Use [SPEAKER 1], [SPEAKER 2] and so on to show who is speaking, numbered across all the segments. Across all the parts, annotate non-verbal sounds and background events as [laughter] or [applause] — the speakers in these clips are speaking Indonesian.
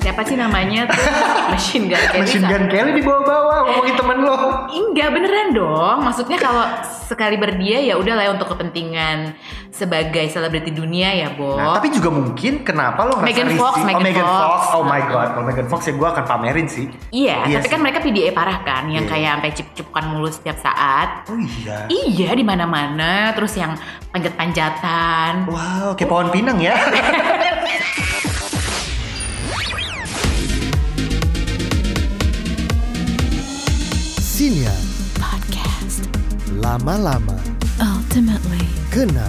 [SPEAKER 1] siapa sih namanya
[SPEAKER 2] [laughs]
[SPEAKER 1] tuh? Machine Gun Kelly.
[SPEAKER 2] Machine Gun Kelly dibawa-bawa ngomongin temen lo.
[SPEAKER 1] Enggak beneran dong. Maksudnya kalau sekali berdia ya udah lah untuk kepentingan sebagai selebriti dunia ya, Bo.
[SPEAKER 2] Nah, tapi juga mungkin kenapa lo ngerasa
[SPEAKER 1] Megan
[SPEAKER 2] risih-
[SPEAKER 1] Fox,
[SPEAKER 2] oh,
[SPEAKER 1] Megan
[SPEAKER 2] Megan
[SPEAKER 1] Fox.
[SPEAKER 2] Fox. Oh my god, kalau Megan Fox ya gue akan pamerin sih.
[SPEAKER 1] iya,
[SPEAKER 2] Iya
[SPEAKER 1] tapi
[SPEAKER 2] sih.
[SPEAKER 1] kan mereka PDA parah kan yang
[SPEAKER 2] Iya.
[SPEAKER 1] kayak sampai cip-cipkan mulut setiap saat.
[SPEAKER 2] Oh iya.
[SPEAKER 1] Iya, di mana-mana terus yang panjat-panjatan.
[SPEAKER 2] Wow, kayak pohon pinang ya.
[SPEAKER 3] [laughs] Sinia
[SPEAKER 4] Podcast
[SPEAKER 3] lama-lama
[SPEAKER 4] ultimately Mm,
[SPEAKER 3] kena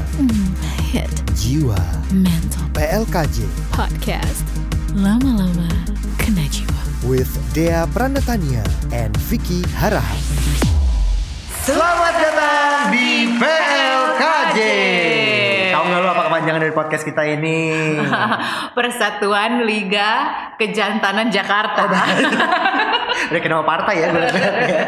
[SPEAKER 4] hit
[SPEAKER 3] jiwa
[SPEAKER 4] mental
[SPEAKER 3] PLKJ
[SPEAKER 4] podcast. Lama-lama kena jiwa.
[SPEAKER 3] with Dea Pranatania and Vicky Harahan.
[SPEAKER 2] Selamat datang di PLKJ. Tahu nggak lo apa kepanjangan dari podcast kita
[SPEAKER 1] [laughs]
[SPEAKER 2] ini?
[SPEAKER 1] Persatuan Liga Kejantanan Jakarta.
[SPEAKER 2] Oh,
[SPEAKER 1] [laughs]
[SPEAKER 2] Udah kenal partai ya gue liat ya.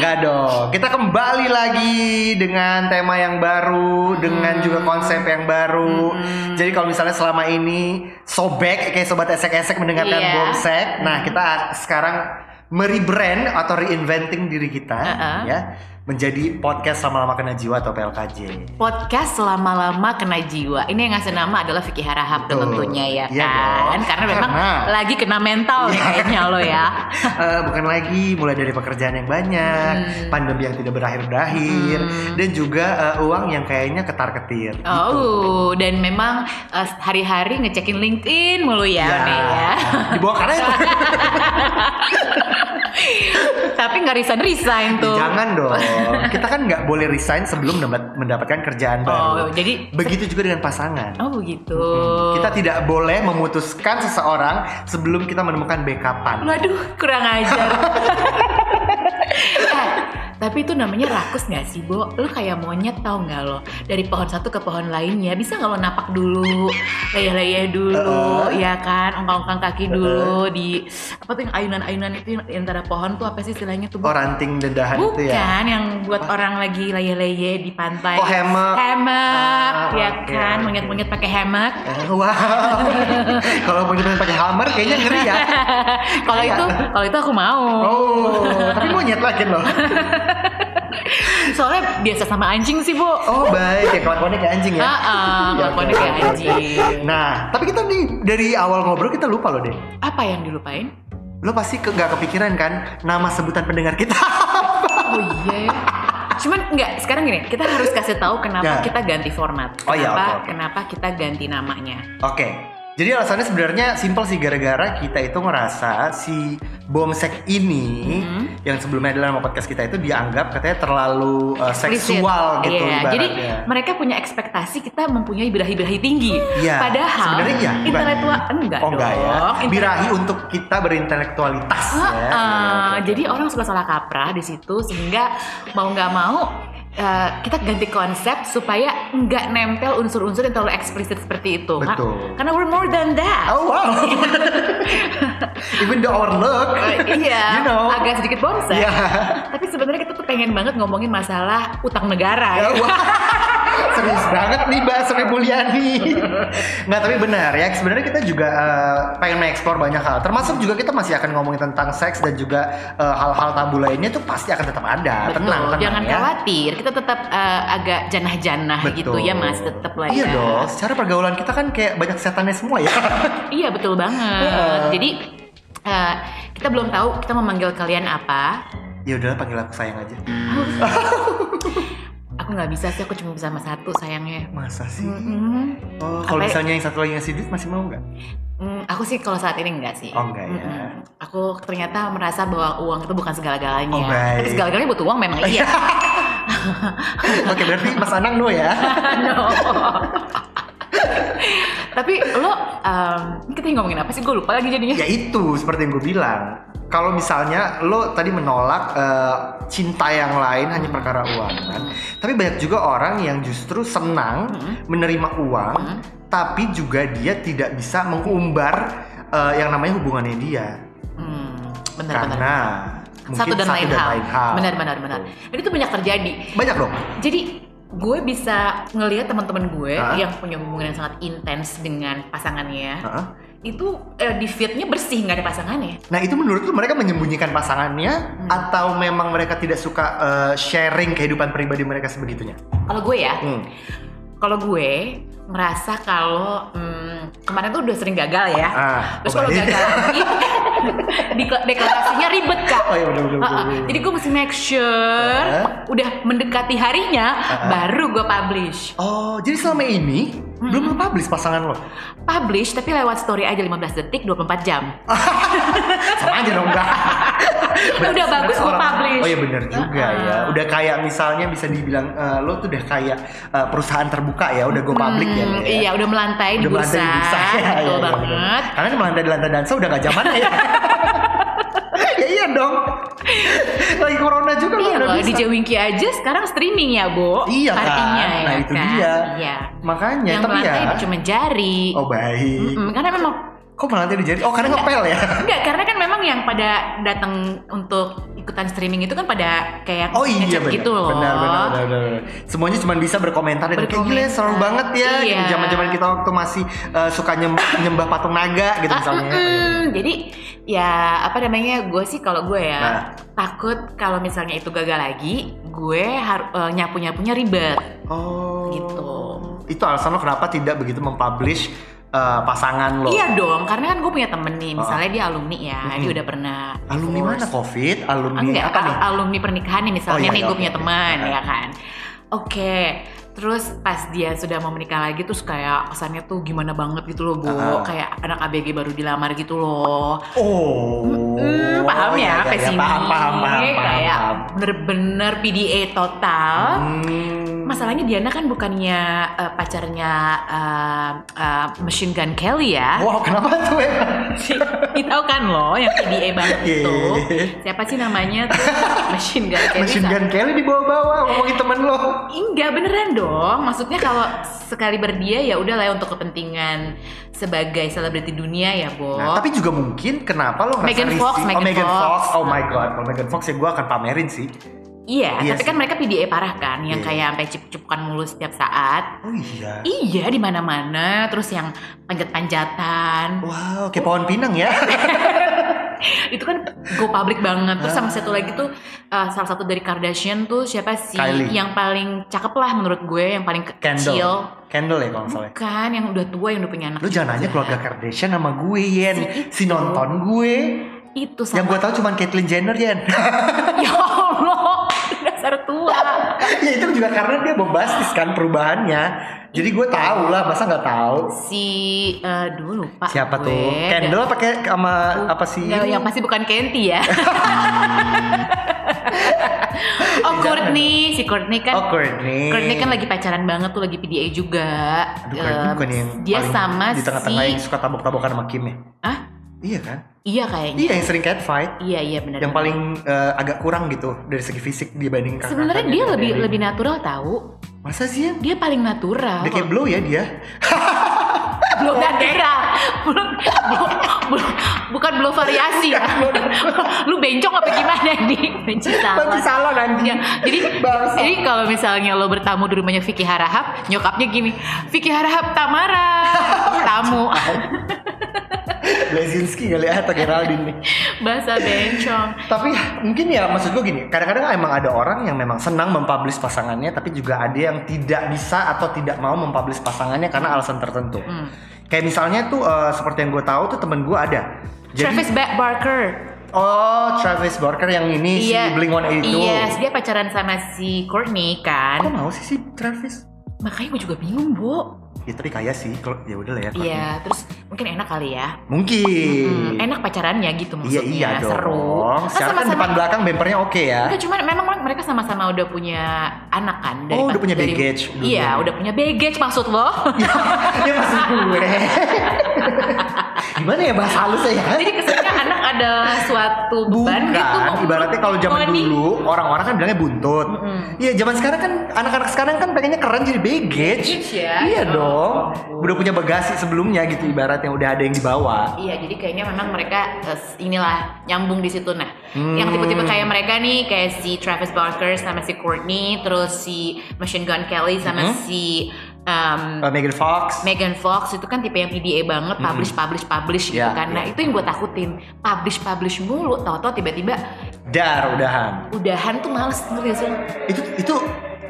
[SPEAKER 2] Nggak dong Kita kembali lagi dengan tema yang baru
[SPEAKER 1] Hmm.
[SPEAKER 2] Dengan juga konsep yang baru Jadi kalau misalnya selama ini Sobek kayak sobat esek-esek mendengarkan
[SPEAKER 1] Iya.
[SPEAKER 2] bomsek Nah kita sekarang merebrand atau reinventing diri kita
[SPEAKER 1] Uh-uh.
[SPEAKER 2] ya menjadi podcast lama-lama kena jiwa atau PLKJ.
[SPEAKER 1] Podcast selama-lama kena jiwa. Ini yang ngasih nama adalah Vicky Harahap
[SPEAKER 2] Betul.
[SPEAKER 1] tentunya ya kan.
[SPEAKER 2] Iya dong.
[SPEAKER 1] Karena memang
[SPEAKER 2] Karena-
[SPEAKER 1] lagi kena mental nih kayaknya lo
[SPEAKER 2] [laughs]
[SPEAKER 1] ya.
[SPEAKER 2] Eh, bukan lagi mulai dari pekerjaan yang banyak,
[SPEAKER 1] Hmm.
[SPEAKER 2] pandemi yang tidak berakhir-berakhir, dan juga eh, uang yang kayaknya ketar-ketir.
[SPEAKER 1] Oh, dan memang eh, hari-hari ngecekin LinkedIn mulu
[SPEAKER 2] Iya.
[SPEAKER 1] ya, Nek, ya. [laughs]
[SPEAKER 2] [laughs] Dibawa karena itu.
[SPEAKER 1] Tapi nggak resign resign tuh.
[SPEAKER 2] Jangan
[SPEAKER 1] [laughs]
[SPEAKER 2] dong. Kita kan nggak boleh resign sebelum mendapat- mendapatkan kerjaan
[SPEAKER 1] Oh,
[SPEAKER 2] baru.
[SPEAKER 1] jadi
[SPEAKER 2] Begitu juga dengan pasangan.
[SPEAKER 1] oh begitu.
[SPEAKER 2] Kita tidak boleh memutuskan seseorang sebelum kita menemukan backupan.
[SPEAKER 1] Waduh, kurang
[SPEAKER 2] [laughs]
[SPEAKER 1] ajar. Eh, tapi itu namanya rakus gak sih, Bo? Lo kayak monyet tau gak lo? Dari pohon satu ke pohon lainnya, bisa gak lo napak dulu? Layah-layah dulu,
[SPEAKER 2] Heeh.
[SPEAKER 1] ya kan? Ongkang-ongkang kaki dulu di... Apa tuh yang ayunan-ayunan itu yang antara pohon tuh apa sih istilahnya tuh? Bo?
[SPEAKER 2] Oh ranting dedahan
[SPEAKER 1] Bukan,
[SPEAKER 2] itu ya.
[SPEAKER 1] yang buat orang lagi layah-layah di pantai.
[SPEAKER 2] Oh, hammock.
[SPEAKER 1] Hammock,
[SPEAKER 2] Ah,
[SPEAKER 1] ya
[SPEAKER 2] oke,
[SPEAKER 1] kan?
[SPEAKER 2] oke.
[SPEAKER 1] Monyet-monyet pakai hammock. [laughs]
[SPEAKER 2] Eh, Wow. [laughs] Kalau mau kita pakai hammer kayaknya ngeri
[SPEAKER 1] [laughs]
[SPEAKER 2] ya.
[SPEAKER 1] kalau itu, kalau itu aku mau.
[SPEAKER 2] Iya. Oh, tapi monyet lagi loh.
[SPEAKER 1] Soalnya biasa sama anjing sih, Bu.
[SPEAKER 2] Oh baik ya kelakuannya kayak anjing ya.
[SPEAKER 1] Ah,
[SPEAKER 2] Ya,
[SPEAKER 1] kelakuannya
[SPEAKER 2] oke,
[SPEAKER 1] kayak
[SPEAKER 2] oke, oke.
[SPEAKER 1] anjing.
[SPEAKER 2] Nah, tapi kita nih dari awal ngobrol kita lupa loh deh.
[SPEAKER 1] Apa yang dilupain?
[SPEAKER 2] Lo pasti ke, gak kepikiran kan nama sebutan pendengar kita [laughs] apa?
[SPEAKER 1] Oh iya ya. Cuman enggak, sekarang gini, kita harus kasih tahu kenapa
[SPEAKER 2] Ya.
[SPEAKER 1] kita ganti format. Kenapa,
[SPEAKER 2] Oh iya, oke, oke.
[SPEAKER 1] kenapa kita ganti namanya.
[SPEAKER 2] Oke. Jadi alasannya sebenarnya simpel sih gara-gara kita itu ngerasa si bomsek ini
[SPEAKER 1] Mm-hmm.
[SPEAKER 2] yang sebelumnya adalah nama podcast kita itu dianggap katanya terlalu uh,
[SPEAKER 1] Explicit.
[SPEAKER 2] seksual gitu
[SPEAKER 1] Iya, Jadi
[SPEAKER 2] ibaratnya.
[SPEAKER 1] mereka punya ekspektasi kita mempunyai birahi-birahi tinggi.
[SPEAKER 2] Iya,
[SPEAKER 1] Padahal
[SPEAKER 2] sebenarnya iya, bukan?
[SPEAKER 1] intelektual enggak
[SPEAKER 2] Oh
[SPEAKER 1] dong.
[SPEAKER 2] enggak ya.
[SPEAKER 1] Intelektual-
[SPEAKER 2] Birahi untuk kita berintelektualitas
[SPEAKER 1] Ah,
[SPEAKER 2] ya.
[SPEAKER 1] ah,
[SPEAKER 2] Oke, oke.
[SPEAKER 1] jadi orang suka salah kaprah di situ sehingga mau nggak mau eh, kita ganti konsep supaya nggak nempel unsur-unsur yang terlalu eksplisit seperti itu. Ka-
[SPEAKER 2] Betul.
[SPEAKER 1] Karena we're more than that.
[SPEAKER 2] Oh wow. [laughs] Even though our look.
[SPEAKER 1] Eh, [laughs] iya,
[SPEAKER 2] [laughs] You know.
[SPEAKER 1] agak sedikit bonsai.
[SPEAKER 2] Iya.
[SPEAKER 1] [laughs] Tapi sebenarnya kita tuh pengen banget ngomongin masalah utang negara. gitu.
[SPEAKER 2] Wah, [laughs] Serius banget nih Mbak Sri Mulyani. Nggak tapi benar ya. Sebenarnya kita juga eh, pengen mengeksplor banyak hal. Termasuk juga kita masih akan ngomongin tentang seks dan juga eh, hal-hal tabu lainnya tuh pasti akan tetap ada.
[SPEAKER 1] Betul,
[SPEAKER 2] Tenang, tenang
[SPEAKER 1] jangan
[SPEAKER 2] ya.
[SPEAKER 1] khawatir. Kita tetap eh, agak janah-janah gitu ya, Mas. Tetap lah
[SPEAKER 2] Iya
[SPEAKER 1] ya.
[SPEAKER 2] dong. Secara pergaulan kita kan kayak banyak setannya semua ya. [laughs]
[SPEAKER 1] Iya betul banget. Jadi eh, kita belum tahu kita memanggil kalian apa.
[SPEAKER 2] ya udahlah panggil aku sayang aja.
[SPEAKER 1] Aku nggak bisa sih, aku cuma bisa sama satu sayangnya.
[SPEAKER 2] Masa sih?
[SPEAKER 1] Mm,
[SPEAKER 2] Oh, kalau
[SPEAKER 1] Apa-
[SPEAKER 2] misalnya yang satu lagi ngasih duit masih mau nggak? [laughs]
[SPEAKER 1] mm, aku sih kalau saat ini enggak sih.
[SPEAKER 2] Oh, enggak ya.
[SPEAKER 1] Mm-mm. Aku ternyata merasa bahwa uang itu bukan segala-galanya.
[SPEAKER 2] Oh, baik.
[SPEAKER 1] Tapi segala-galanya butuh uang memang iya.
[SPEAKER 2] [laughs] Oke berarti Mas Anang no ya.
[SPEAKER 1] No. Tapi lo, em, kita ngomongin apa sih? Gue lupa lagi jadinya.
[SPEAKER 2] ya itu seperti yang gue bilang kalau misalnya lo tadi menolak eh, cinta yang lain hanya perkara uang kan
[SPEAKER 1] Hmm.
[SPEAKER 2] tapi banyak juga orang yang justru senang menerima uang
[SPEAKER 1] Hmm.
[SPEAKER 2] tapi juga dia tidak bisa mengumbar eh, yang namanya hubungannya dia
[SPEAKER 1] Hmm, benar-benar.
[SPEAKER 2] karena mungkin
[SPEAKER 1] Satu dan, lain, hal.
[SPEAKER 2] hal.
[SPEAKER 1] Benar-benar benar. Dan itu banyak terjadi.
[SPEAKER 2] banyak dong
[SPEAKER 1] Jadi gue bisa ngelihat teman-teman gue
[SPEAKER 2] Hah?
[SPEAKER 1] yang punya hubungan yang sangat intens dengan pasangannya
[SPEAKER 2] Heeh.
[SPEAKER 1] itu eh, di feednya bersih nggak ada pasangannya
[SPEAKER 2] Nah itu menurut lu mereka menyembunyikan pasangannya
[SPEAKER 1] Hmm.
[SPEAKER 2] atau memang mereka tidak suka eh, sharing kehidupan pribadi mereka sebegitunya?
[SPEAKER 1] kalau gue ya
[SPEAKER 2] Hmm.
[SPEAKER 1] kalau gue ngerasa kalau hmm, kemarin tuh udah sering gagal ya
[SPEAKER 2] Ah,
[SPEAKER 1] terus kalau
[SPEAKER 2] oh, iya.
[SPEAKER 1] gagal
[SPEAKER 2] [laughs]
[SPEAKER 1] lagi dekla- deklarasinya ribet kak
[SPEAKER 2] Oh iya bener bener.
[SPEAKER 1] Ah, ah.
[SPEAKER 2] bener, bener.
[SPEAKER 1] jadi gue mesti make sure
[SPEAKER 2] Ah.
[SPEAKER 1] udah mendekati harinya baru gue publish
[SPEAKER 2] Oh jadi selama ini belum lu publish pasangan lo?
[SPEAKER 1] publish tapi lewat story aja 15 detik 24 jam
[SPEAKER 2] Ah, Sama aja dong enggak.
[SPEAKER 1] [laughs]
[SPEAKER 2] Berarti
[SPEAKER 1] Udah [laughs] bagus gua
[SPEAKER 2] sebenarnya orang-
[SPEAKER 1] publish.
[SPEAKER 2] Oh iya bener juga
[SPEAKER 1] Ah.
[SPEAKER 2] ya. Udah kayak misalnya bisa dibilang eh, lo tuh udah kayak eh, perusahaan terbuka ya, udah go public ya.
[SPEAKER 1] Hmm,
[SPEAKER 2] Nia, ya.
[SPEAKER 1] iya udah melantai di
[SPEAKER 2] udah
[SPEAKER 1] bursa,
[SPEAKER 2] melantai di bursa [laughs] ya, ya,
[SPEAKER 1] betul
[SPEAKER 2] ya,
[SPEAKER 1] banget
[SPEAKER 2] bener. karena melantai di lantai dansa udah gak zaman
[SPEAKER 1] [laughs]
[SPEAKER 2] ya ya iya dong lagi corona juga
[SPEAKER 1] Iya
[SPEAKER 2] kan udah
[SPEAKER 1] loh,
[SPEAKER 2] bisa
[SPEAKER 1] DJ Winky aja sekarang streaming ya, Bu.
[SPEAKER 2] Iya kan?
[SPEAKER 1] Partinya ya
[SPEAKER 2] Nah, itu
[SPEAKER 1] kan?
[SPEAKER 2] dia.
[SPEAKER 1] Iya.
[SPEAKER 2] makanya
[SPEAKER 1] yang
[SPEAKER 2] tapi ya
[SPEAKER 1] melantai cuma jari.
[SPEAKER 2] oh baik
[SPEAKER 1] Mm-mm, karena memang
[SPEAKER 2] kok melantai di jari oh karena ngepel ya
[SPEAKER 1] enggak karena kan memang yang pada datang untuk ikutan streaming itu kan pada kayak
[SPEAKER 2] Oh iya
[SPEAKER 1] ngechat
[SPEAKER 2] benar.
[SPEAKER 1] gitu loh.
[SPEAKER 2] Benar, benar, benar, benar. Semuanya cuma bisa berkomentar dan kayak gila ya, seru
[SPEAKER 1] Berkomentar.
[SPEAKER 2] banget ya.
[SPEAKER 1] Iya.
[SPEAKER 2] Gitu, Zaman-zaman kita waktu masih eh, suka nyem- nyembah patung naga gitu
[SPEAKER 1] Ah,
[SPEAKER 2] misalnya.
[SPEAKER 1] mm-mm. Jadi ya apa namanya gue sih kalau gue ya
[SPEAKER 2] Nah.
[SPEAKER 1] takut kalau misalnya itu gagal lagi gue harus nyapu nyapunya ribet.
[SPEAKER 2] Oh.
[SPEAKER 1] [laughs] Gitu.
[SPEAKER 2] Itu alasan lo kenapa tidak begitu mempublish eh, pasangan lo.
[SPEAKER 1] Iya dong karena kan gue punya temen nih misalnya dia alumni ya dia
[SPEAKER 2] Ah. Mm-mm.
[SPEAKER 1] udah pernah
[SPEAKER 2] Alumni
[SPEAKER 1] divorce.
[SPEAKER 2] mana COVID? Alumni
[SPEAKER 1] Enggak, ah,
[SPEAKER 2] apa nih?
[SPEAKER 1] al- alumni pernikahan nih misalnya
[SPEAKER 2] Oh, iya,
[SPEAKER 1] nih
[SPEAKER 2] iya,
[SPEAKER 1] gue punya
[SPEAKER 2] oke, oke.
[SPEAKER 1] teman
[SPEAKER 2] Ah.
[SPEAKER 1] ya kan. Oke, terus pas dia sudah mau menikah lagi terus kayak kesannya tuh gimana banget gitu loh, Bu.
[SPEAKER 2] Ah.
[SPEAKER 1] Kayak anak ABG baru dilamar gitu loh.
[SPEAKER 2] Oh.
[SPEAKER 1] Hmm, paham ya,
[SPEAKER 2] Iya, iya, iya.
[SPEAKER 1] pesimis.
[SPEAKER 2] Paham, paham, paham, paham.
[SPEAKER 1] Iya, kayak
[SPEAKER 2] paham.
[SPEAKER 1] bener-bener PDA total.
[SPEAKER 2] Hmm.
[SPEAKER 1] Masalahnya Diana kan bukannya eh, pacarnya eh, eh, Machine Gun Kelly ya. [laughs]
[SPEAKER 2] Wow, kenapa tuh ya?
[SPEAKER 1] Si- Tahu kan lo yang PDA banget itu.
[SPEAKER 2] Iya.
[SPEAKER 1] Siapa sih namanya?
[SPEAKER 2] [laughs]
[SPEAKER 1] Machine Gun Kelly.
[SPEAKER 2] Machine Gun Kelly dibawa-bawa ngomongin temen lo.
[SPEAKER 1] Enggak beneran dong. Maksudnya kalau sekali berdia ya udahlah ya untuk kepentingan sebagai selebriti dunia ya, Bo.
[SPEAKER 2] Nah, tapi juga mungkin kenapa lo ngerasa
[SPEAKER 1] Megan
[SPEAKER 2] risih-
[SPEAKER 1] Fox,
[SPEAKER 2] oh,
[SPEAKER 1] Megan
[SPEAKER 2] Megan Fox.
[SPEAKER 1] Fox.
[SPEAKER 2] Oh my god, kalau Megan Fox ya gue akan pamerin sih.
[SPEAKER 1] iya,
[SPEAKER 2] Iya
[SPEAKER 1] tapi kan
[SPEAKER 2] sih.
[SPEAKER 1] mereka PDA parah kan yang
[SPEAKER 2] Iya.
[SPEAKER 1] kayak sampai cip-cipkan mulu setiap saat.
[SPEAKER 2] Oh iya.
[SPEAKER 1] Iya, di mana-mana terus yang panjat-panjatan.
[SPEAKER 2] Wow, kayak pohon pinang
[SPEAKER 1] [laughs]
[SPEAKER 2] ya.
[SPEAKER 1] Itu kan go public banget. Terus
[SPEAKER 2] Ah.
[SPEAKER 1] sama satu lagi tuh eh, salah satu dari Kardashian tuh siapa sih
[SPEAKER 2] Kylie.
[SPEAKER 1] yang paling cakep lah menurut gue, yang paling ke- kecil.
[SPEAKER 2] Candle. Candle ya kalau nggak salah.
[SPEAKER 1] Bukan yang udah tua yang udah punya anak.
[SPEAKER 2] Lu jangan nanya keluarga Kardashian sama gue, Yen. Si
[SPEAKER 1] Si itu.
[SPEAKER 2] nonton gue.
[SPEAKER 1] Itu sama
[SPEAKER 2] Yang gue tahu cuma Caitlyn Jenner,
[SPEAKER 1] [laughs]
[SPEAKER 2] Yen. [laughs]
[SPEAKER 1] Ya Allah, dasar tua.
[SPEAKER 2] ya itu juga karena dia bombastis kan perubahannya. Jadi gue tahu lah, masa nggak tahu.
[SPEAKER 1] Si eh dulu lupa.
[SPEAKER 2] Siapa
[SPEAKER 1] gue.
[SPEAKER 2] tuh? Kendall pakai sama apa sih?
[SPEAKER 1] Nggak, yang pasti bukan Kenti
[SPEAKER 2] [laughs]
[SPEAKER 1] ya. oh
[SPEAKER 2] Jangan.
[SPEAKER 1] Courtney, si Courtney kan
[SPEAKER 2] Oh, Courtney.
[SPEAKER 1] Courtney kan lagi pacaran banget tuh lagi PDA juga.
[SPEAKER 2] Aduh, Courtney
[SPEAKER 1] Eh,
[SPEAKER 2] bukan yang
[SPEAKER 1] dia
[SPEAKER 2] paling
[SPEAKER 1] sama
[SPEAKER 2] di tengah-tengah
[SPEAKER 1] si
[SPEAKER 2] yang suka tabok-tabokan sama Kim ya?
[SPEAKER 1] Hah?
[SPEAKER 2] Iya kan?
[SPEAKER 1] Iya kayaknya.
[SPEAKER 2] Iya, yang sering catfight.
[SPEAKER 1] Iya iya benar.
[SPEAKER 2] Yang paling eh, agak kurang gitu dari segi fisik dibanding kakak
[SPEAKER 1] Sebenarnya dia lebih lebih natural tahu.
[SPEAKER 2] Masa sih Yan?
[SPEAKER 1] Dia paling natural.
[SPEAKER 2] Dia kayak blow ya dia.
[SPEAKER 1] belum daerah belum belum belum bukan belum variasi ya lu bencong apa gimana nih benci
[SPEAKER 2] Nanti
[SPEAKER 1] salah
[SPEAKER 2] salah nanti.
[SPEAKER 1] Ya,
[SPEAKER 2] [laughs]
[SPEAKER 1] jadi
[SPEAKER 2] Bangsa.
[SPEAKER 1] jadi kalau misalnya lo bertamu di rumahnya Vicky Harahap nyokapnya gini Vicky Harahap Tamara
[SPEAKER 2] [laughs]
[SPEAKER 1] tamu
[SPEAKER 2] Lezinski kali ya atau Geraldine
[SPEAKER 1] [laughs]
[SPEAKER 2] nih.
[SPEAKER 1] bahasa bencong
[SPEAKER 2] Tapi mungkin ya maksud gue gini, kadang-kadang emang ada orang yang memang senang mempublish pasangannya tapi juga ada yang tidak bisa atau tidak mau mempublish pasangannya karena alasan tertentu.
[SPEAKER 1] Hmm.
[SPEAKER 2] Kayak misalnya tuh eh, seperti yang gue tahu tuh temen gue ada.
[SPEAKER 1] Travis Ba- Barker
[SPEAKER 2] Oh, Travis Barker yang ini
[SPEAKER 1] Iya.
[SPEAKER 2] si Blink One itu.
[SPEAKER 1] Yes, dia pacaran sama si Courtney
[SPEAKER 2] Kok
[SPEAKER 1] kan
[SPEAKER 2] mau sih si Travis?
[SPEAKER 1] makanya gue juga bingung bu
[SPEAKER 2] Ya tapi kaya sih, kalau ya udah lah ya. kalau-
[SPEAKER 1] Iya, terus mungkin enak kali ya
[SPEAKER 2] Mungkin.
[SPEAKER 1] Hmm, enak pacarannya gitu
[SPEAKER 2] Iya
[SPEAKER 1] maksudnya
[SPEAKER 2] iya dong.
[SPEAKER 1] seru Kan
[SPEAKER 2] Secara kan depan belakang bempernya oke ya.
[SPEAKER 1] Enggak, cuman memang mereka sama-sama udah punya anak kan
[SPEAKER 2] Oh, udah punya
[SPEAKER 1] dari-
[SPEAKER 2] baggage. Udah
[SPEAKER 1] Iya
[SPEAKER 2] punya.
[SPEAKER 1] udah punya baggage maksud lo [laughs]
[SPEAKER 2] [laughs] ya maksud gue. Gimana ya bahasa halusnya ya?
[SPEAKER 1] Jadi kesannya anak adalah suatu
[SPEAKER 2] Bukan,
[SPEAKER 1] beban gitu
[SPEAKER 2] ibaratnya kalau zaman
[SPEAKER 1] Money.
[SPEAKER 2] dulu orang-orang kan bilangnya buntut.
[SPEAKER 1] Mm-mm.
[SPEAKER 2] Iya, zaman sekarang kan anak-anak sekarang kan pengennya keren jadi baggage.
[SPEAKER 1] Baggage ya.
[SPEAKER 2] Iya
[SPEAKER 1] Oh.
[SPEAKER 2] dong. Udah punya bagasi sebelumnya gitu ibaratnya udah ada yang dibawa.
[SPEAKER 1] Iya jadi kayaknya memang mereka eh, inilah nyambung di situ nah
[SPEAKER 2] Hmm.
[SPEAKER 1] Yang tipe-tipe kayak mereka nih kayak si Travis Barker sama si Courtney, terus si Machine Gun Kelly sama
[SPEAKER 2] Mhm.
[SPEAKER 1] si um,
[SPEAKER 2] Uh, Megan Fox.
[SPEAKER 1] Megan Fox itu kan tipe yang PDA banget, publish, publish, publish gitu
[SPEAKER 2] Hmm. Ya,
[SPEAKER 1] kan. Nah
[SPEAKER 2] ya.
[SPEAKER 1] itu yang gue takutin, publish, publish mulu, tau-tau tiba-tiba
[SPEAKER 2] Dar udahan.
[SPEAKER 1] udahan tuh males ngerti gak sih lo?
[SPEAKER 2] Itu itu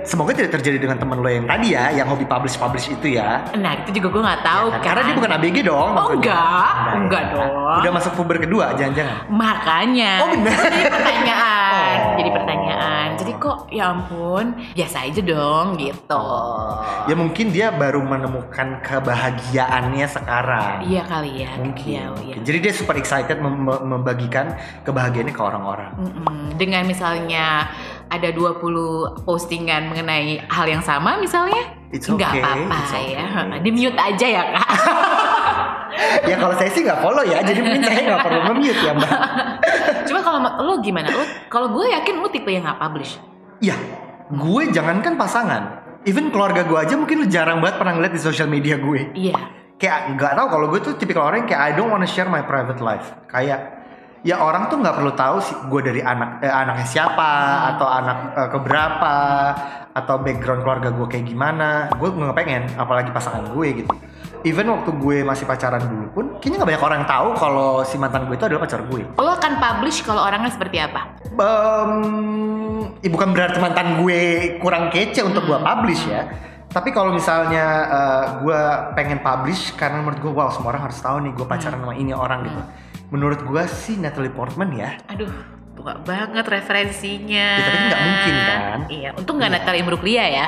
[SPEAKER 2] semoga tidak terjadi dengan teman lo yang tadi ya, yang hobi publish publish itu ya.
[SPEAKER 1] Nah itu juga gue nggak tahu kan.
[SPEAKER 2] Nah, Karena dia bukan ABG dong.
[SPEAKER 1] Oh
[SPEAKER 2] maksudnya.
[SPEAKER 1] enggak,
[SPEAKER 2] Enggak,
[SPEAKER 1] enggak
[SPEAKER 2] ya.
[SPEAKER 1] dong.
[SPEAKER 2] Udah masuk puber kedua, jangan-jangan.
[SPEAKER 1] Makanya.
[SPEAKER 2] Oh, bener.
[SPEAKER 1] Itu Jadi pertanyaan,
[SPEAKER 2] Oh.
[SPEAKER 1] jadi pertanyaan. Jadi kok ya ampun, biasa aja dong gitu.
[SPEAKER 2] Ya mungkin dia baru menemukan kebahagiaannya sekarang.
[SPEAKER 1] Iya kali ya.
[SPEAKER 2] Mungkin.
[SPEAKER 1] Iya, iya.
[SPEAKER 2] mungkin. Jadi dia super excited mem- mem- membagikan kebahagiaannya ke orang-orang.
[SPEAKER 1] Mm-mm. Dengan misalnya ada 20 postingan mengenai hal yang sama misalnya,
[SPEAKER 2] It's
[SPEAKER 1] nggak
[SPEAKER 2] okay,
[SPEAKER 1] apa-apa
[SPEAKER 2] it's okay.
[SPEAKER 1] ya. [laughs] Di mute aja ya kak.
[SPEAKER 2] [laughs] ya kalau saya sih nggak follow ya, jadi mungkin saya nggak perlu nge-mute ya
[SPEAKER 1] [laughs]
[SPEAKER 2] mbak.
[SPEAKER 1] Cuma kalau ma- lo gimana? Lo kalau gue yakin lo tipe yang nggak publish.
[SPEAKER 2] Ya, gue jangankan pasangan, even keluarga gue aja mungkin jarang banget pernah ngeliat di sosial media gue.
[SPEAKER 1] Iya.
[SPEAKER 2] kayak nggak tahu kalau gue tuh tipikal orang yang kayak I don't wanna share my private life kayak ya orang tuh nggak perlu tahu sih gue dari anak eh, anaknya siapa atau anak eh, keberapa atau background keluarga gue kayak gimana gue nggak pengen apalagi pasangan gue gitu even waktu gue masih pacaran dulu pun kayaknya nggak banyak orang tahu kalau si mantan gue itu adalah pacar gue
[SPEAKER 1] Lo akan publish kalau orangnya seperti apa?
[SPEAKER 2] Em, ya bukan berarti mantan gue kurang kece untuk gue publish ya. Tapi kalau misalnya eh, gue pengen publish karena menurut gue wow semua orang harus tahu nih gue pacaran sama ini orang gitu. Menurut gue sih Natalie Portman ya. [laughs]
[SPEAKER 1] Aduh, tua banget referensinya.
[SPEAKER 2] Ya, tapi kan nggak mungkin, kan?
[SPEAKER 1] Iya, untung nggak Natalie Imbruglia ya.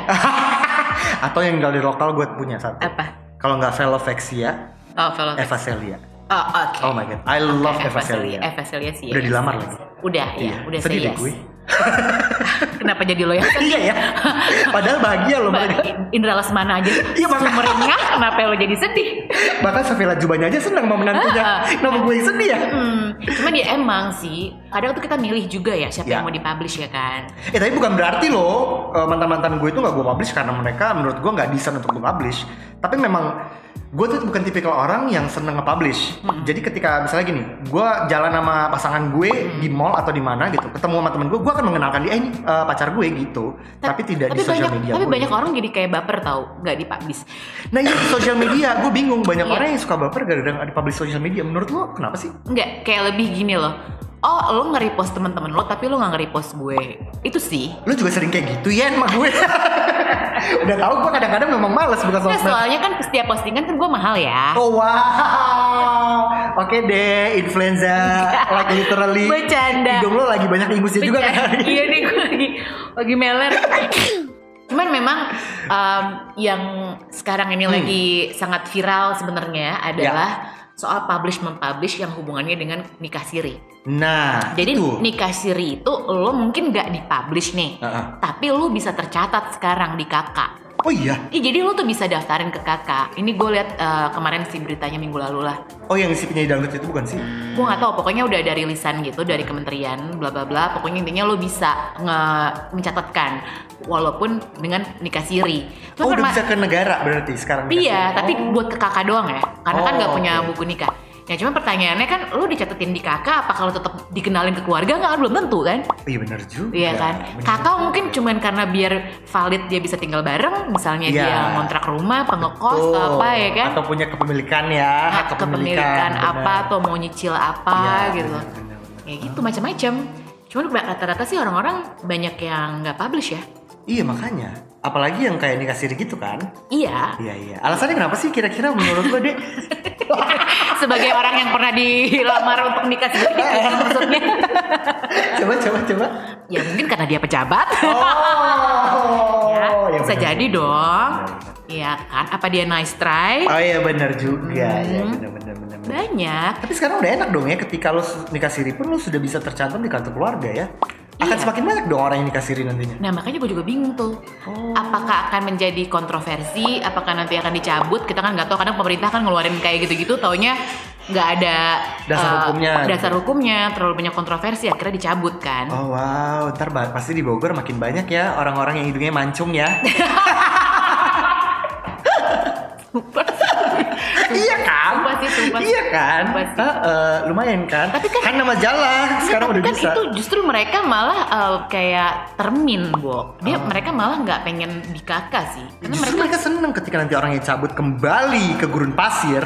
[SPEAKER 2] Atau yang dari lokal gue punya satu.
[SPEAKER 1] Apa?
[SPEAKER 2] Kalau nggak Velovexia,
[SPEAKER 1] Oh, fellow.
[SPEAKER 2] Eva Celia.
[SPEAKER 1] Oh, oke.
[SPEAKER 2] Oh my god, Eh, I love Eva Celia.
[SPEAKER 1] Eva Celia sih. ya.
[SPEAKER 2] Udah dilamar lagi.
[SPEAKER 1] Udah, ya,
[SPEAKER 2] Iya,
[SPEAKER 1] udah
[SPEAKER 2] sedih
[SPEAKER 1] say
[SPEAKER 2] deh
[SPEAKER 1] yes.
[SPEAKER 2] gue.
[SPEAKER 1] [laughs]
[SPEAKER 2] [laughs]
[SPEAKER 1] Kenapa jadi lo yang
[SPEAKER 2] Iya ya. Padahal bahagia loh.
[SPEAKER 1] Mbak
[SPEAKER 2] makanya.
[SPEAKER 1] Indra Lesmana aja
[SPEAKER 2] Iya, makanya.
[SPEAKER 1] sumbernya kenapa lo jadi sedih?
[SPEAKER 2] Bahkan Savila Jubanya aja senang sama menantunya. Kenapa gue yang sedih ya?
[SPEAKER 1] Hmm, cuma dia emang sih kadang tuh kita milih juga ya siapa
[SPEAKER 2] Ya.
[SPEAKER 1] yang mau dipublish ya kan.
[SPEAKER 2] Eh tapi bukan berarti loh eh, mantan-mantan gue itu nggak gue publish karena mereka menurut gue nggak desain untuk gue publish. Tapi memang gue tuh bukan tipikal orang yang seneng nge-publish.
[SPEAKER 1] Hmm.
[SPEAKER 2] Jadi ketika misalnya gini, gue jalan sama pasangan gue
[SPEAKER 1] Hmm.
[SPEAKER 2] di mall atau di mana gitu, ketemu sama temen gue, gue akan mengenalkan dia, eh ini eh, pacar gue gitu.
[SPEAKER 1] Ta-
[SPEAKER 2] Tapi, tidak di sosial
[SPEAKER 1] banyak,
[SPEAKER 2] media.
[SPEAKER 1] Tapi
[SPEAKER 2] gue.
[SPEAKER 1] banyak orang jadi kayak baper tau nggak dipublish.
[SPEAKER 2] Nah iya di sosial media, gue bingung banyak
[SPEAKER 1] Iya.
[SPEAKER 2] orang yang suka baper gara-gara nggak di-publish sosial media. Menurut lo kenapa sih?
[SPEAKER 1] Nggak kayak lebih gini loh. Oh lo nge-repost temen-temen lo tapi lo nggak nge-repost gue. Itu sih.
[SPEAKER 2] Lo juga sering kayak gitu ya sama gue. [laughs] Udah tahu gue kadang-kadang memang males buka
[SPEAKER 1] Nah,
[SPEAKER 2] sosmed.
[SPEAKER 1] soalnya kan setiap postingan kan gue mahal ya.
[SPEAKER 2] Oh wow, oke deh influenza,
[SPEAKER 1] [laughs]
[SPEAKER 2] like literally.
[SPEAKER 1] Bercanda.
[SPEAKER 2] Hidung lo lagi banyak ingusnya juga kan?
[SPEAKER 1] Bercanda.
[SPEAKER 2] hari ini?
[SPEAKER 1] Iya nih gue lagi lagi meler. Cuman memang um, yang sekarang
[SPEAKER 2] Hmm.
[SPEAKER 1] ini lagi sangat viral sebenarnya adalah
[SPEAKER 2] Ya.
[SPEAKER 1] soal publish mempublish yang hubungannya dengan nikah siri.
[SPEAKER 2] Nah,
[SPEAKER 1] Jadi
[SPEAKER 2] itu.
[SPEAKER 1] nikah siri itu lo mungkin nggak dipublish nih,
[SPEAKER 2] Uh-uh.
[SPEAKER 1] tapi lo bisa tercatat sekarang di kakak.
[SPEAKER 2] Oh iya,
[SPEAKER 1] Ih, jadi lo tuh bisa daftarin ke kakak. Ini gue lihat uh, kemarin sih beritanya minggu lalu lah.
[SPEAKER 2] oh yang si penyanyi dangdut itu bukan sih?
[SPEAKER 1] Gue nggak tahu, pokoknya udah ada rilisan gitu dari kementerian, bla bla bla. Pokoknya intinya lo bisa nge- mencatatkan, walaupun dengan nikah siri. Cuma
[SPEAKER 2] oh udah
[SPEAKER 1] perma-
[SPEAKER 2] bisa ke negara berarti sekarang. dikasih.
[SPEAKER 1] Iya, tapi
[SPEAKER 2] Oh.
[SPEAKER 1] buat ke kakak doang ya, karena kan
[SPEAKER 2] Oh,
[SPEAKER 1] nggak punya
[SPEAKER 2] oke.
[SPEAKER 1] buku nikah. Ya cuma pertanyaannya kan, lo dicatetin di kakak, apa kalau tetap dikenalin ke keluarga nggak? Belum tentu kan?
[SPEAKER 2] Iya benar juga.
[SPEAKER 1] Iya kan?
[SPEAKER 2] bener
[SPEAKER 1] Kakak
[SPEAKER 2] juga.
[SPEAKER 1] mungkin cuman karena biar valid dia bisa tinggal bareng, misalnya
[SPEAKER 2] Iya.
[SPEAKER 1] dia ngontrak rumah, pengekos atau
[SPEAKER 2] Betul.
[SPEAKER 1] apa ya kan?
[SPEAKER 2] Atau punya kepemilikan ya, hak
[SPEAKER 1] Hak Nah, kepemilikan apa
[SPEAKER 2] bener.
[SPEAKER 1] atau mau nyicil apa
[SPEAKER 2] Iya,
[SPEAKER 1] gitu.
[SPEAKER 2] bener, bener, bener.
[SPEAKER 1] Ya gitu macam-macam. Cuman rata-rata sih orang-orang banyak yang nggak publish ya.
[SPEAKER 2] Iya makanya, apalagi yang kayak nikah siri gitu kan?
[SPEAKER 1] Iya,
[SPEAKER 2] Iya iya. Alasannya kenapa sih kira-kira menurut lo deh?
[SPEAKER 1] [laughs]
[SPEAKER 2] [laughs]
[SPEAKER 1] sebagai orang yang pernah dilamar untuk nikah sendiri gitu
[SPEAKER 2] [laughs]
[SPEAKER 1] maksudnya.
[SPEAKER 2] coba coba coba.
[SPEAKER 1] Ya mungkin karena dia pejabat.
[SPEAKER 2] Oh,
[SPEAKER 1] ya,
[SPEAKER 2] ya
[SPEAKER 1] bisa
[SPEAKER 2] bener.
[SPEAKER 1] jadi dong. Iya kan? Apa dia nice try?
[SPEAKER 2] Oh iya benar juga, ya
[SPEAKER 1] Hmm.
[SPEAKER 2] benar benar benar. benar.
[SPEAKER 1] Banyak.
[SPEAKER 2] Tapi sekarang udah enak dong ya, ketika lo nikah siri pun lo sudah bisa tercantum di kartu keluarga ya. Akan
[SPEAKER 1] Iya.
[SPEAKER 2] semakin banyak dong orang yang nikah siri nantinya.
[SPEAKER 1] Nah makanya gue juga bingung tuh
[SPEAKER 2] Oh.
[SPEAKER 1] Apakah akan menjadi kontroversi Apakah nanti akan dicabut Kita kan nggak tahu Kadang pemerintah kan ngeluarin kayak gitu-gitu Taunya nggak ada
[SPEAKER 2] Dasar
[SPEAKER 1] eh,
[SPEAKER 2] hukumnya. gitu.
[SPEAKER 1] Dasar hukumnya Terlalu banyak kontroversi Akhirnya dicabut kan
[SPEAKER 2] Oh wow, ntar ba- pasti di Bogor makin banyak ya orang-orang yang hidungnya mancung
[SPEAKER 1] [laughs]
[SPEAKER 2] ya. iya kan?
[SPEAKER 1] Sumpah sih, sumpah.
[SPEAKER 2] Iya kan?
[SPEAKER 1] Sumpah sih.
[SPEAKER 2] Heeh, lumayan kan? Iya,
[SPEAKER 1] Tapi kan-
[SPEAKER 2] nama majalah Oh, sekarang udah
[SPEAKER 1] kan
[SPEAKER 2] bisa.
[SPEAKER 1] itu justru mereka malah uh, kayak termin, Bo. Dia
[SPEAKER 2] Oh.
[SPEAKER 1] mereka malah nggak pengen di kakak sih. Karena
[SPEAKER 2] Justru
[SPEAKER 1] mereka
[SPEAKER 2] mereka seneng ketika nanti orangnya cabut kembali ke gurun pasir,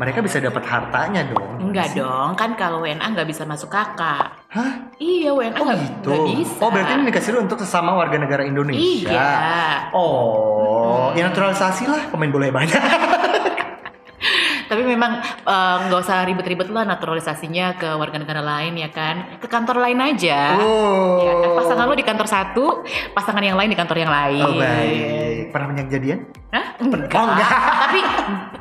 [SPEAKER 2] mereka bisa dapat hartanya dong.
[SPEAKER 1] Enggak dong, kan kalau WNA nggak bisa masuk kakak.
[SPEAKER 2] Hah?
[SPEAKER 1] Iya, WNA
[SPEAKER 2] Oh
[SPEAKER 1] nggak
[SPEAKER 2] gitu.
[SPEAKER 1] nggak bisa.
[SPEAKER 2] Oh berarti ini dikasih lu untuk sesama warga negara Indonesia.
[SPEAKER 1] Iya.
[SPEAKER 2] Oh, ya naturalisasi lah pemain bola yang banyak.
[SPEAKER 1] Ah, Tapi memang eh, nggak usah ribet-ribet lah naturalisasinya ke warga negara lain ya kan. Ke kantor lain aja.
[SPEAKER 2] Oh.
[SPEAKER 1] Ya kan? Pasangan lu di kantor satu, pasangan yang lain di kantor yang lain.
[SPEAKER 2] Oh baik. Pernah banyak jadian?
[SPEAKER 1] Hah? Enggak.
[SPEAKER 2] Oh, enggak.
[SPEAKER 1] [laughs] Tapi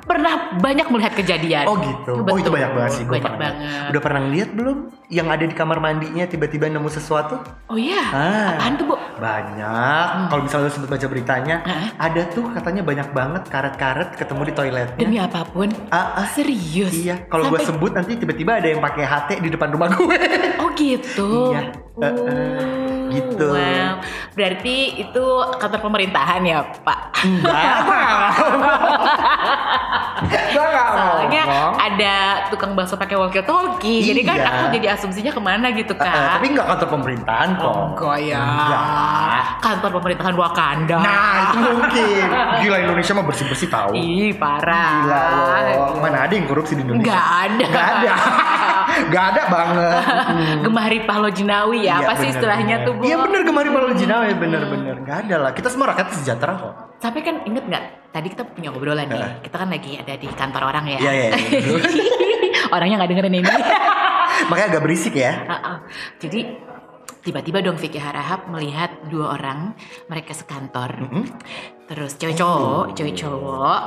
[SPEAKER 1] pernah banyak melihat kejadian.
[SPEAKER 2] Oh gitu. Oh itu
[SPEAKER 1] Betul.
[SPEAKER 2] banyak banget sih gue
[SPEAKER 1] Banyak
[SPEAKER 2] pernah. lihat.
[SPEAKER 1] banget.
[SPEAKER 2] Udah pernah lihat belum? Yang ada di kamar mandinya tiba-tiba nemu sesuatu?
[SPEAKER 1] Oh iya.
[SPEAKER 2] Ah.
[SPEAKER 1] Apaan tuh, Bu?
[SPEAKER 2] Banyak.
[SPEAKER 1] Hmm.
[SPEAKER 2] Kalau misalnya lu sempat baca beritanya,
[SPEAKER 1] Heeh.
[SPEAKER 2] ada tuh katanya banyak banget karet-karet ketemu di toiletnya.
[SPEAKER 1] Demi apapun.
[SPEAKER 2] Ah, ah.
[SPEAKER 1] Serius.
[SPEAKER 2] Iya, kalau gue
[SPEAKER 1] Sampai-
[SPEAKER 2] sebut nanti tiba-tiba ada yang pakai HT di depan rumah gue.
[SPEAKER 1] Oh gitu.
[SPEAKER 2] Iya. Eh, eh.
[SPEAKER 1] Oh,
[SPEAKER 2] Gitu.
[SPEAKER 1] Wow. Berarti itu kantor pemerintahan ya, Pak?
[SPEAKER 2] Iya. Enggak. Gue nggak
[SPEAKER 1] Soalnya
[SPEAKER 2] ngomong.
[SPEAKER 1] ada tukang bakso pakai walkie talkie. Jadi kan
[SPEAKER 2] Iya.
[SPEAKER 1] aku jadi asumsinya kemana gitu
[SPEAKER 2] Eh, eh,
[SPEAKER 1] kan?
[SPEAKER 2] tapi nggak kantor pemerintahan kok.
[SPEAKER 1] Enggak ya.
[SPEAKER 2] Enggak.
[SPEAKER 1] Kantor pemerintahan Wakanda.
[SPEAKER 2] Nah, itu mungkin. Gila Indonesia mah bersih-bersih tahu.
[SPEAKER 1] Ih, parah.
[SPEAKER 2] Gila loh. Mana ada yang korupsi di Indonesia?
[SPEAKER 1] Nggak ada. Hmm.
[SPEAKER 2] Nggak
[SPEAKER 1] [laughs]
[SPEAKER 2] ada. Nggak ada banget.
[SPEAKER 1] Gemari Pahlo Jinawi ya,
[SPEAKER 2] Iya,
[SPEAKER 1] apa sih
[SPEAKER 2] bener,
[SPEAKER 1] istilahnya
[SPEAKER 2] bener.
[SPEAKER 1] tuh, Bu? Hmm.
[SPEAKER 2] Iya bener kemarin Palu Jinawi bener-bener nggak ada lah. Kita semua rakyat sejahtera kok.
[SPEAKER 1] Tapi kan inget nggak? Tadi kita punya obrolan
[SPEAKER 2] Heeh.
[SPEAKER 1] nih. Kita kan lagi ada di kantor orang ya.
[SPEAKER 2] Eh. Iya iya. iya.
[SPEAKER 1] [laughs] Orangnya nggak dengerin
[SPEAKER 2] [laughs]
[SPEAKER 1] ini.
[SPEAKER 2] Makanya agak berisik ya.
[SPEAKER 1] Heeh. Jadi tiba-tiba dong Vicky Harahap melihat dua orang mereka sekantor. Terus cewek cowok, cewek cowok,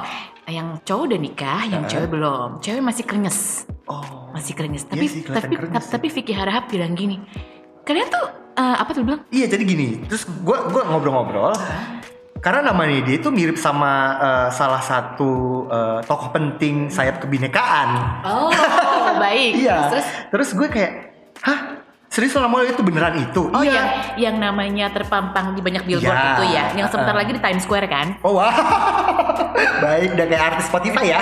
[SPEAKER 1] yang cowok udah nikah, yang cewek belum. Cewek masih krenyes,
[SPEAKER 2] Oh.
[SPEAKER 1] masih krenyes.
[SPEAKER 2] Iya
[SPEAKER 1] Tapi
[SPEAKER 2] sih, kelihatan
[SPEAKER 1] tapi
[SPEAKER 2] krenyes sih.
[SPEAKER 1] tapi Vicky Harahap bilang gini, kalian tuh eh, apa tuh bilang?
[SPEAKER 2] Iya jadi gini. Terus gue gua ngobrol-ngobrol. Karena namanya dia itu mirip sama eh, salah satu eh, tokoh penting sayap kebinekaan.
[SPEAKER 1] Oh [laughs] baik.
[SPEAKER 2] Iya. Terus,
[SPEAKER 1] Terus
[SPEAKER 2] gue kayak, hah? Serius lo ngomong itu beneran itu? Iya.
[SPEAKER 1] Oh yang yang namanya terpampang di banyak billboard
[SPEAKER 2] Ya,
[SPEAKER 1] itu ya, yang sebentar
[SPEAKER 2] uh-uh.
[SPEAKER 1] lagi di Times Square kan?
[SPEAKER 2] Oh wah, [laughs] baik dan kayak artis
[SPEAKER 1] [laughs]
[SPEAKER 2] Spotify ya.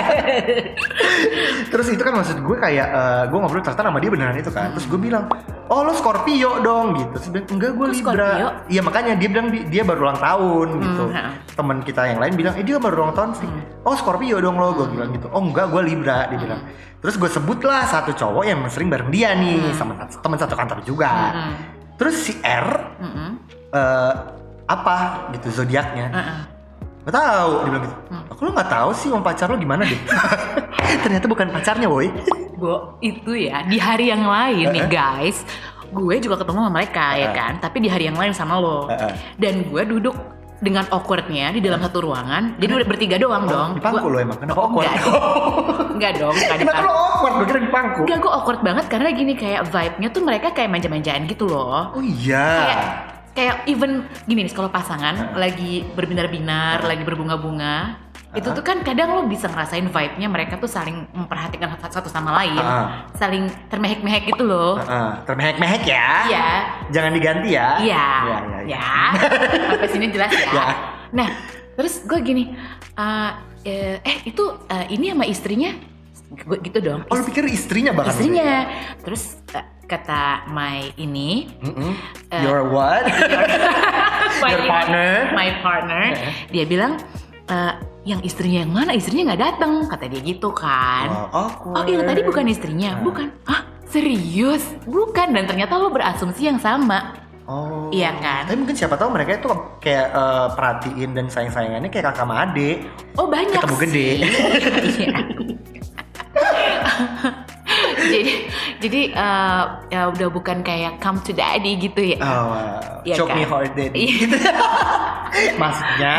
[SPEAKER 2] Terus itu kan maksud gue kayak eh, gue ngobrol ternyata sama dia beneran itu kan. Terus gue bilang, oh lo Scorpio dong gitu. Terus dia bilang, enggak gue
[SPEAKER 1] Kok
[SPEAKER 2] Libra.
[SPEAKER 1] Scorpio? Hmm,
[SPEAKER 2] Iya makanya dia bilang di- dia baru ulang tahun gitu.
[SPEAKER 1] ha. Hmm.
[SPEAKER 2] Temen kita yang lain bilang, eh dia baru ulang tahun sih. Oh Scorpio dong lo, gue bilang gitu. Oh enggak gue Libra dia bilang. Terus gue sebutlah satu cowok yang sering bareng dia
[SPEAKER 1] Hmm.
[SPEAKER 2] nih sama temen satu kantor juga. Terus si R
[SPEAKER 1] Mm-mm.
[SPEAKER 2] eh apa gitu zodiaknya
[SPEAKER 1] Uh-uh.
[SPEAKER 2] nggak tahu dia bilang gitu
[SPEAKER 1] Hmm.
[SPEAKER 2] aku lo nggak tahu sih om pacar lo gimana
[SPEAKER 1] [laughs]
[SPEAKER 2] deh ternyata bukan pacarnya boy
[SPEAKER 1] Bo, itu ya di hari yang lain nih guys, gue juga ketemu sama mereka ya
[SPEAKER 2] Eh.
[SPEAKER 1] kan, tapi di hari yang lain sama lo.
[SPEAKER 2] Eh, eh.
[SPEAKER 1] Dan gue duduk dengan awkwardnya di dalam satu ruangan, jadi udah bertiga doang dong.
[SPEAKER 2] Oh, di pangku lo
[SPEAKER 1] Gua-
[SPEAKER 2] emang kenapa awkward
[SPEAKER 1] Oh, Enggak, enggak dong, enggak di
[SPEAKER 2] kenapa lo
[SPEAKER 1] pangku.
[SPEAKER 2] awkward gue kira di pangku
[SPEAKER 1] Enggak, gue awkward banget karena gini kayak vibe-nya tuh mereka kayak manja-manjaan gitu loh.
[SPEAKER 2] oh iya
[SPEAKER 1] kayak kayak even gini nih kalau
[SPEAKER 2] Ah.
[SPEAKER 1] pasangan lagi berbinar-binar, lagi berbunga-bunga, itu tuh kan kadang lo bisa ngerasain vibe-nya mereka tuh saling memperhatikan satu sama lain,
[SPEAKER 2] Ah.
[SPEAKER 1] saling termehek-mehek gitu loh.
[SPEAKER 2] Heeh, termehek-mehek ya
[SPEAKER 1] Iya,
[SPEAKER 2] jangan diganti ya
[SPEAKER 1] iya,
[SPEAKER 2] iya iya
[SPEAKER 1] ya. Sampai sini jelas ya.
[SPEAKER 2] Ya.
[SPEAKER 1] Nah, terus gue gini, eh, eh eh, itu eh, ini sama istrinya, gue gitu dong.
[SPEAKER 2] oh lo pikir istrinya gitu? bahkan
[SPEAKER 1] istrinya, terus eh, kata my ini,
[SPEAKER 2] Mm-mm.
[SPEAKER 1] Eh.
[SPEAKER 2] Your what?
[SPEAKER 1] my
[SPEAKER 2] [laughs] Your
[SPEAKER 1] ini-
[SPEAKER 2] partner?
[SPEAKER 1] my partner
[SPEAKER 2] Eh.
[SPEAKER 1] dia bilang "Eh, yang istrinya yang mana istrinya nggak datang kata dia gitu kan
[SPEAKER 2] Oh,
[SPEAKER 1] oh
[SPEAKER 2] awkward.
[SPEAKER 1] yang tadi bukan istrinya
[SPEAKER 2] Nah.
[SPEAKER 1] bukan ah serius bukan dan ternyata lo berasumsi yang sama
[SPEAKER 2] Oh.
[SPEAKER 1] Iya kan?
[SPEAKER 2] Tapi mungkin siapa tahu mereka itu kayak eh, perhatiin dan sayang-sayangannya kayak kakak sama adik.
[SPEAKER 1] oh banyak
[SPEAKER 2] Ketemu
[SPEAKER 1] sih.
[SPEAKER 2] gede. [laughs]
[SPEAKER 1] Iya. [laughs] jadi jadi eh, ya udah bukan kayak come to daddy gitu ya
[SPEAKER 2] Oh, wow.
[SPEAKER 1] Iya
[SPEAKER 2] Choke
[SPEAKER 1] kan?
[SPEAKER 2] me hard daddy.
[SPEAKER 1] Iya. [laughs]
[SPEAKER 2] Gitu. Maksudnya.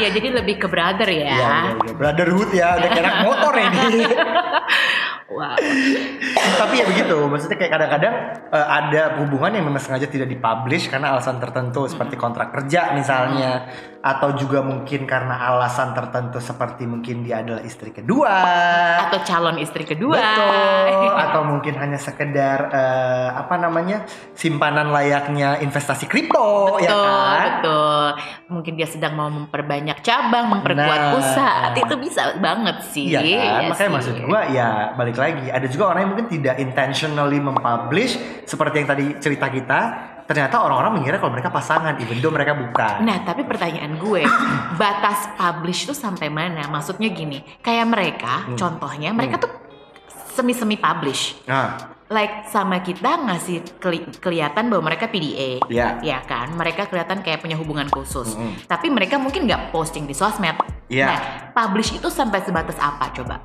[SPEAKER 1] iya jadi lebih ke brother ya,
[SPEAKER 2] Iya, iya, iya. brotherhood ya, udah kayak anak motor
[SPEAKER 1] [laughs]
[SPEAKER 2] ini.
[SPEAKER 1] wow
[SPEAKER 2] Tapi ya begitu, maksudnya kayak kadang-kadang eh, ada hubungan yang memang sengaja tidak dipublish karena alasan
[SPEAKER 1] Hmm.
[SPEAKER 2] tertentu seperti kontrak kerja misalnya, atau juga mungkin karena alasan tertentu seperti mungkin dia adalah istri kedua
[SPEAKER 1] atau calon istri kedua. [laughs]
[SPEAKER 2] Betul. Atau mungkin hanya sekedar eh, apa namanya simpanan layaknya investasi kripto, ya
[SPEAKER 1] Betul,
[SPEAKER 2] kan?
[SPEAKER 1] betul. Mungkin dia sedang mau memperbanyak cabang, memperkuat
[SPEAKER 2] Nah.
[SPEAKER 1] usaha. Itu bisa banget sih.
[SPEAKER 2] Iya kan?
[SPEAKER 1] Iya
[SPEAKER 2] Makanya
[SPEAKER 1] sih.
[SPEAKER 2] maksud gua ya balik lagi. Ada juga orang yang mungkin tidak intentionally mempublish seperti yang tadi cerita kita. Ternyata orang-orang mengira kalau mereka pasangan, even though mereka bukan.
[SPEAKER 1] Nah, tapi pertanyaan gue,
[SPEAKER 2] [laughs]
[SPEAKER 1] batas publish tuh sampai mana? Maksudnya gini, kayak mereka,
[SPEAKER 2] Hmm.
[SPEAKER 1] contohnya mereka tuh semi-semi publish.
[SPEAKER 2] Nah,
[SPEAKER 1] Like sama kita ngasih keli- kelihatan bahwa mereka PDA.
[SPEAKER 2] Iya.
[SPEAKER 1] Ya kan? Mereka kelihatan kayak punya hubungan khusus.
[SPEAKER 2] Mm-mm.
[SPEAKER 1] Tapi mereka mungkin nggak posting di sosmed.
[SPEAKER 2] Iya.
[SPEAKER 1] Nah, publish itu sampai sebatas apa coba?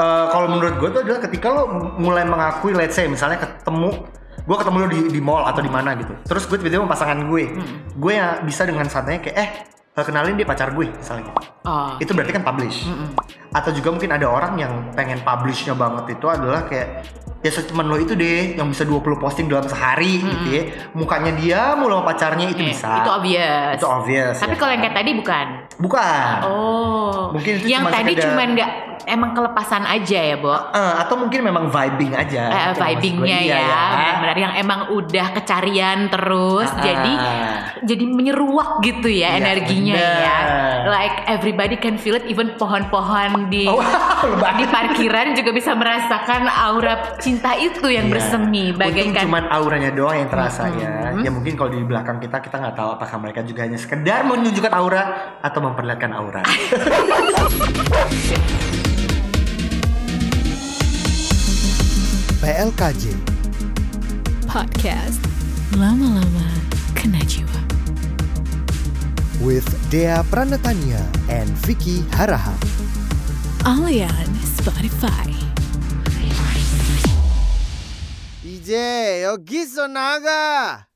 [SPEAKER 2] eh, kalau menurut gue tuh adalah ketika lo mulai mengakui, let's say misalnya ketemu gue ketemu lo di, di mall atau di mana gitu terus gue tiba-tiba sama pasangan gue
[SPEAKER 1] Hmm.
[SPEAKER 2] gue ya bisa dengan santainya kayak eh kenalin dia pacar gue misalnya gitu.
[SPEAKER 1] Oh. hmm.
[SPEAKER 2] itu berarti kan publish
[SPEAKER 1] Mm-mm.
[SPEAKER 2] atau juga mungkin ada orang yang pengen publishnya banget itu adalah kayak ya temen lo itu deh yang bisa 20 posting dalam sehari gitu ya mukanya dia mulu sama pacarnya itu
[SPEAKER 1] Eh,
[SPEAKER 2] bisa
[SPEAKER 1] Itu obvious.
[SPEAKER 2] Itu obvious,
[SPEAKER 1] Tapi
[SPEAKER 2] ya
[SPEAKER 1] kalau yang
[SPEAKER 2] kan?
[SPEAKER 1] kayak tadi bukan.
[SPEAKER 2] bukan
[SPEAKER 1] Oh.
[SPEAKER 2] Mungkin itu
[SPEAKER 1] yang
[SPEAKER 2] cuma
[SPEAKER 1] tadi
[SPEAKER 2] sekedar-
[SPEAKER 1] cuman nggak emang kelepasan aja ya, Bo.
[SPEAKER 2] Eh, atau mungkin memang vibing
[SPEAKER 1] Eh,
[SPEAKER 2] aja Itu yang maksud gue.
[SPEAKER 1] vibingnya
[SPEAKER 2] Iya,
[SPEAKER 1] ya, benar-benar yang emang udah kecarian terus,
[SPEAKER 2] Ah,
[SPEAKER 1] jadi
[SPEAKER 2] ah.
[SPEAKER 1] jadi menyeruak gitu ya
[SPEAKER 2] Iya,
[SPEAKER 1] energinya ya.
[SPEAKER 2] benar.
[SPEAKER 1] Like everybody can feel it, even pohon-pohon di
[SPEAKER 2] Oh, [laughs] lebay.
[SPEAKER 1] di parkiran juga bisa merasakan aura cinta itu yang
[SPEAKER 2] Iya.
[SPEAKER 1] bersemi,
[SPEAKER 2] Untung
[SPEAKER 1] bagaikan
[SPEAKER 2] cuman auranya doang yang terasa ya. Ya mungkin kalau di belakang kita kita nggak tahu apakah mereka juga hanya sekedar menunjukkan aura atau memperlihatkan aura.
[SPEAKER 3] PLKJ
[SPEAKER 4] Podcast Lama Lama Kanachiwa.
[SPEAKER 3] with Dea Pranatania and Vicky Haraha.
[SPEAKER 4] Only on Spotify.
[SPEAKER 3] DJ Yogi Sonaga.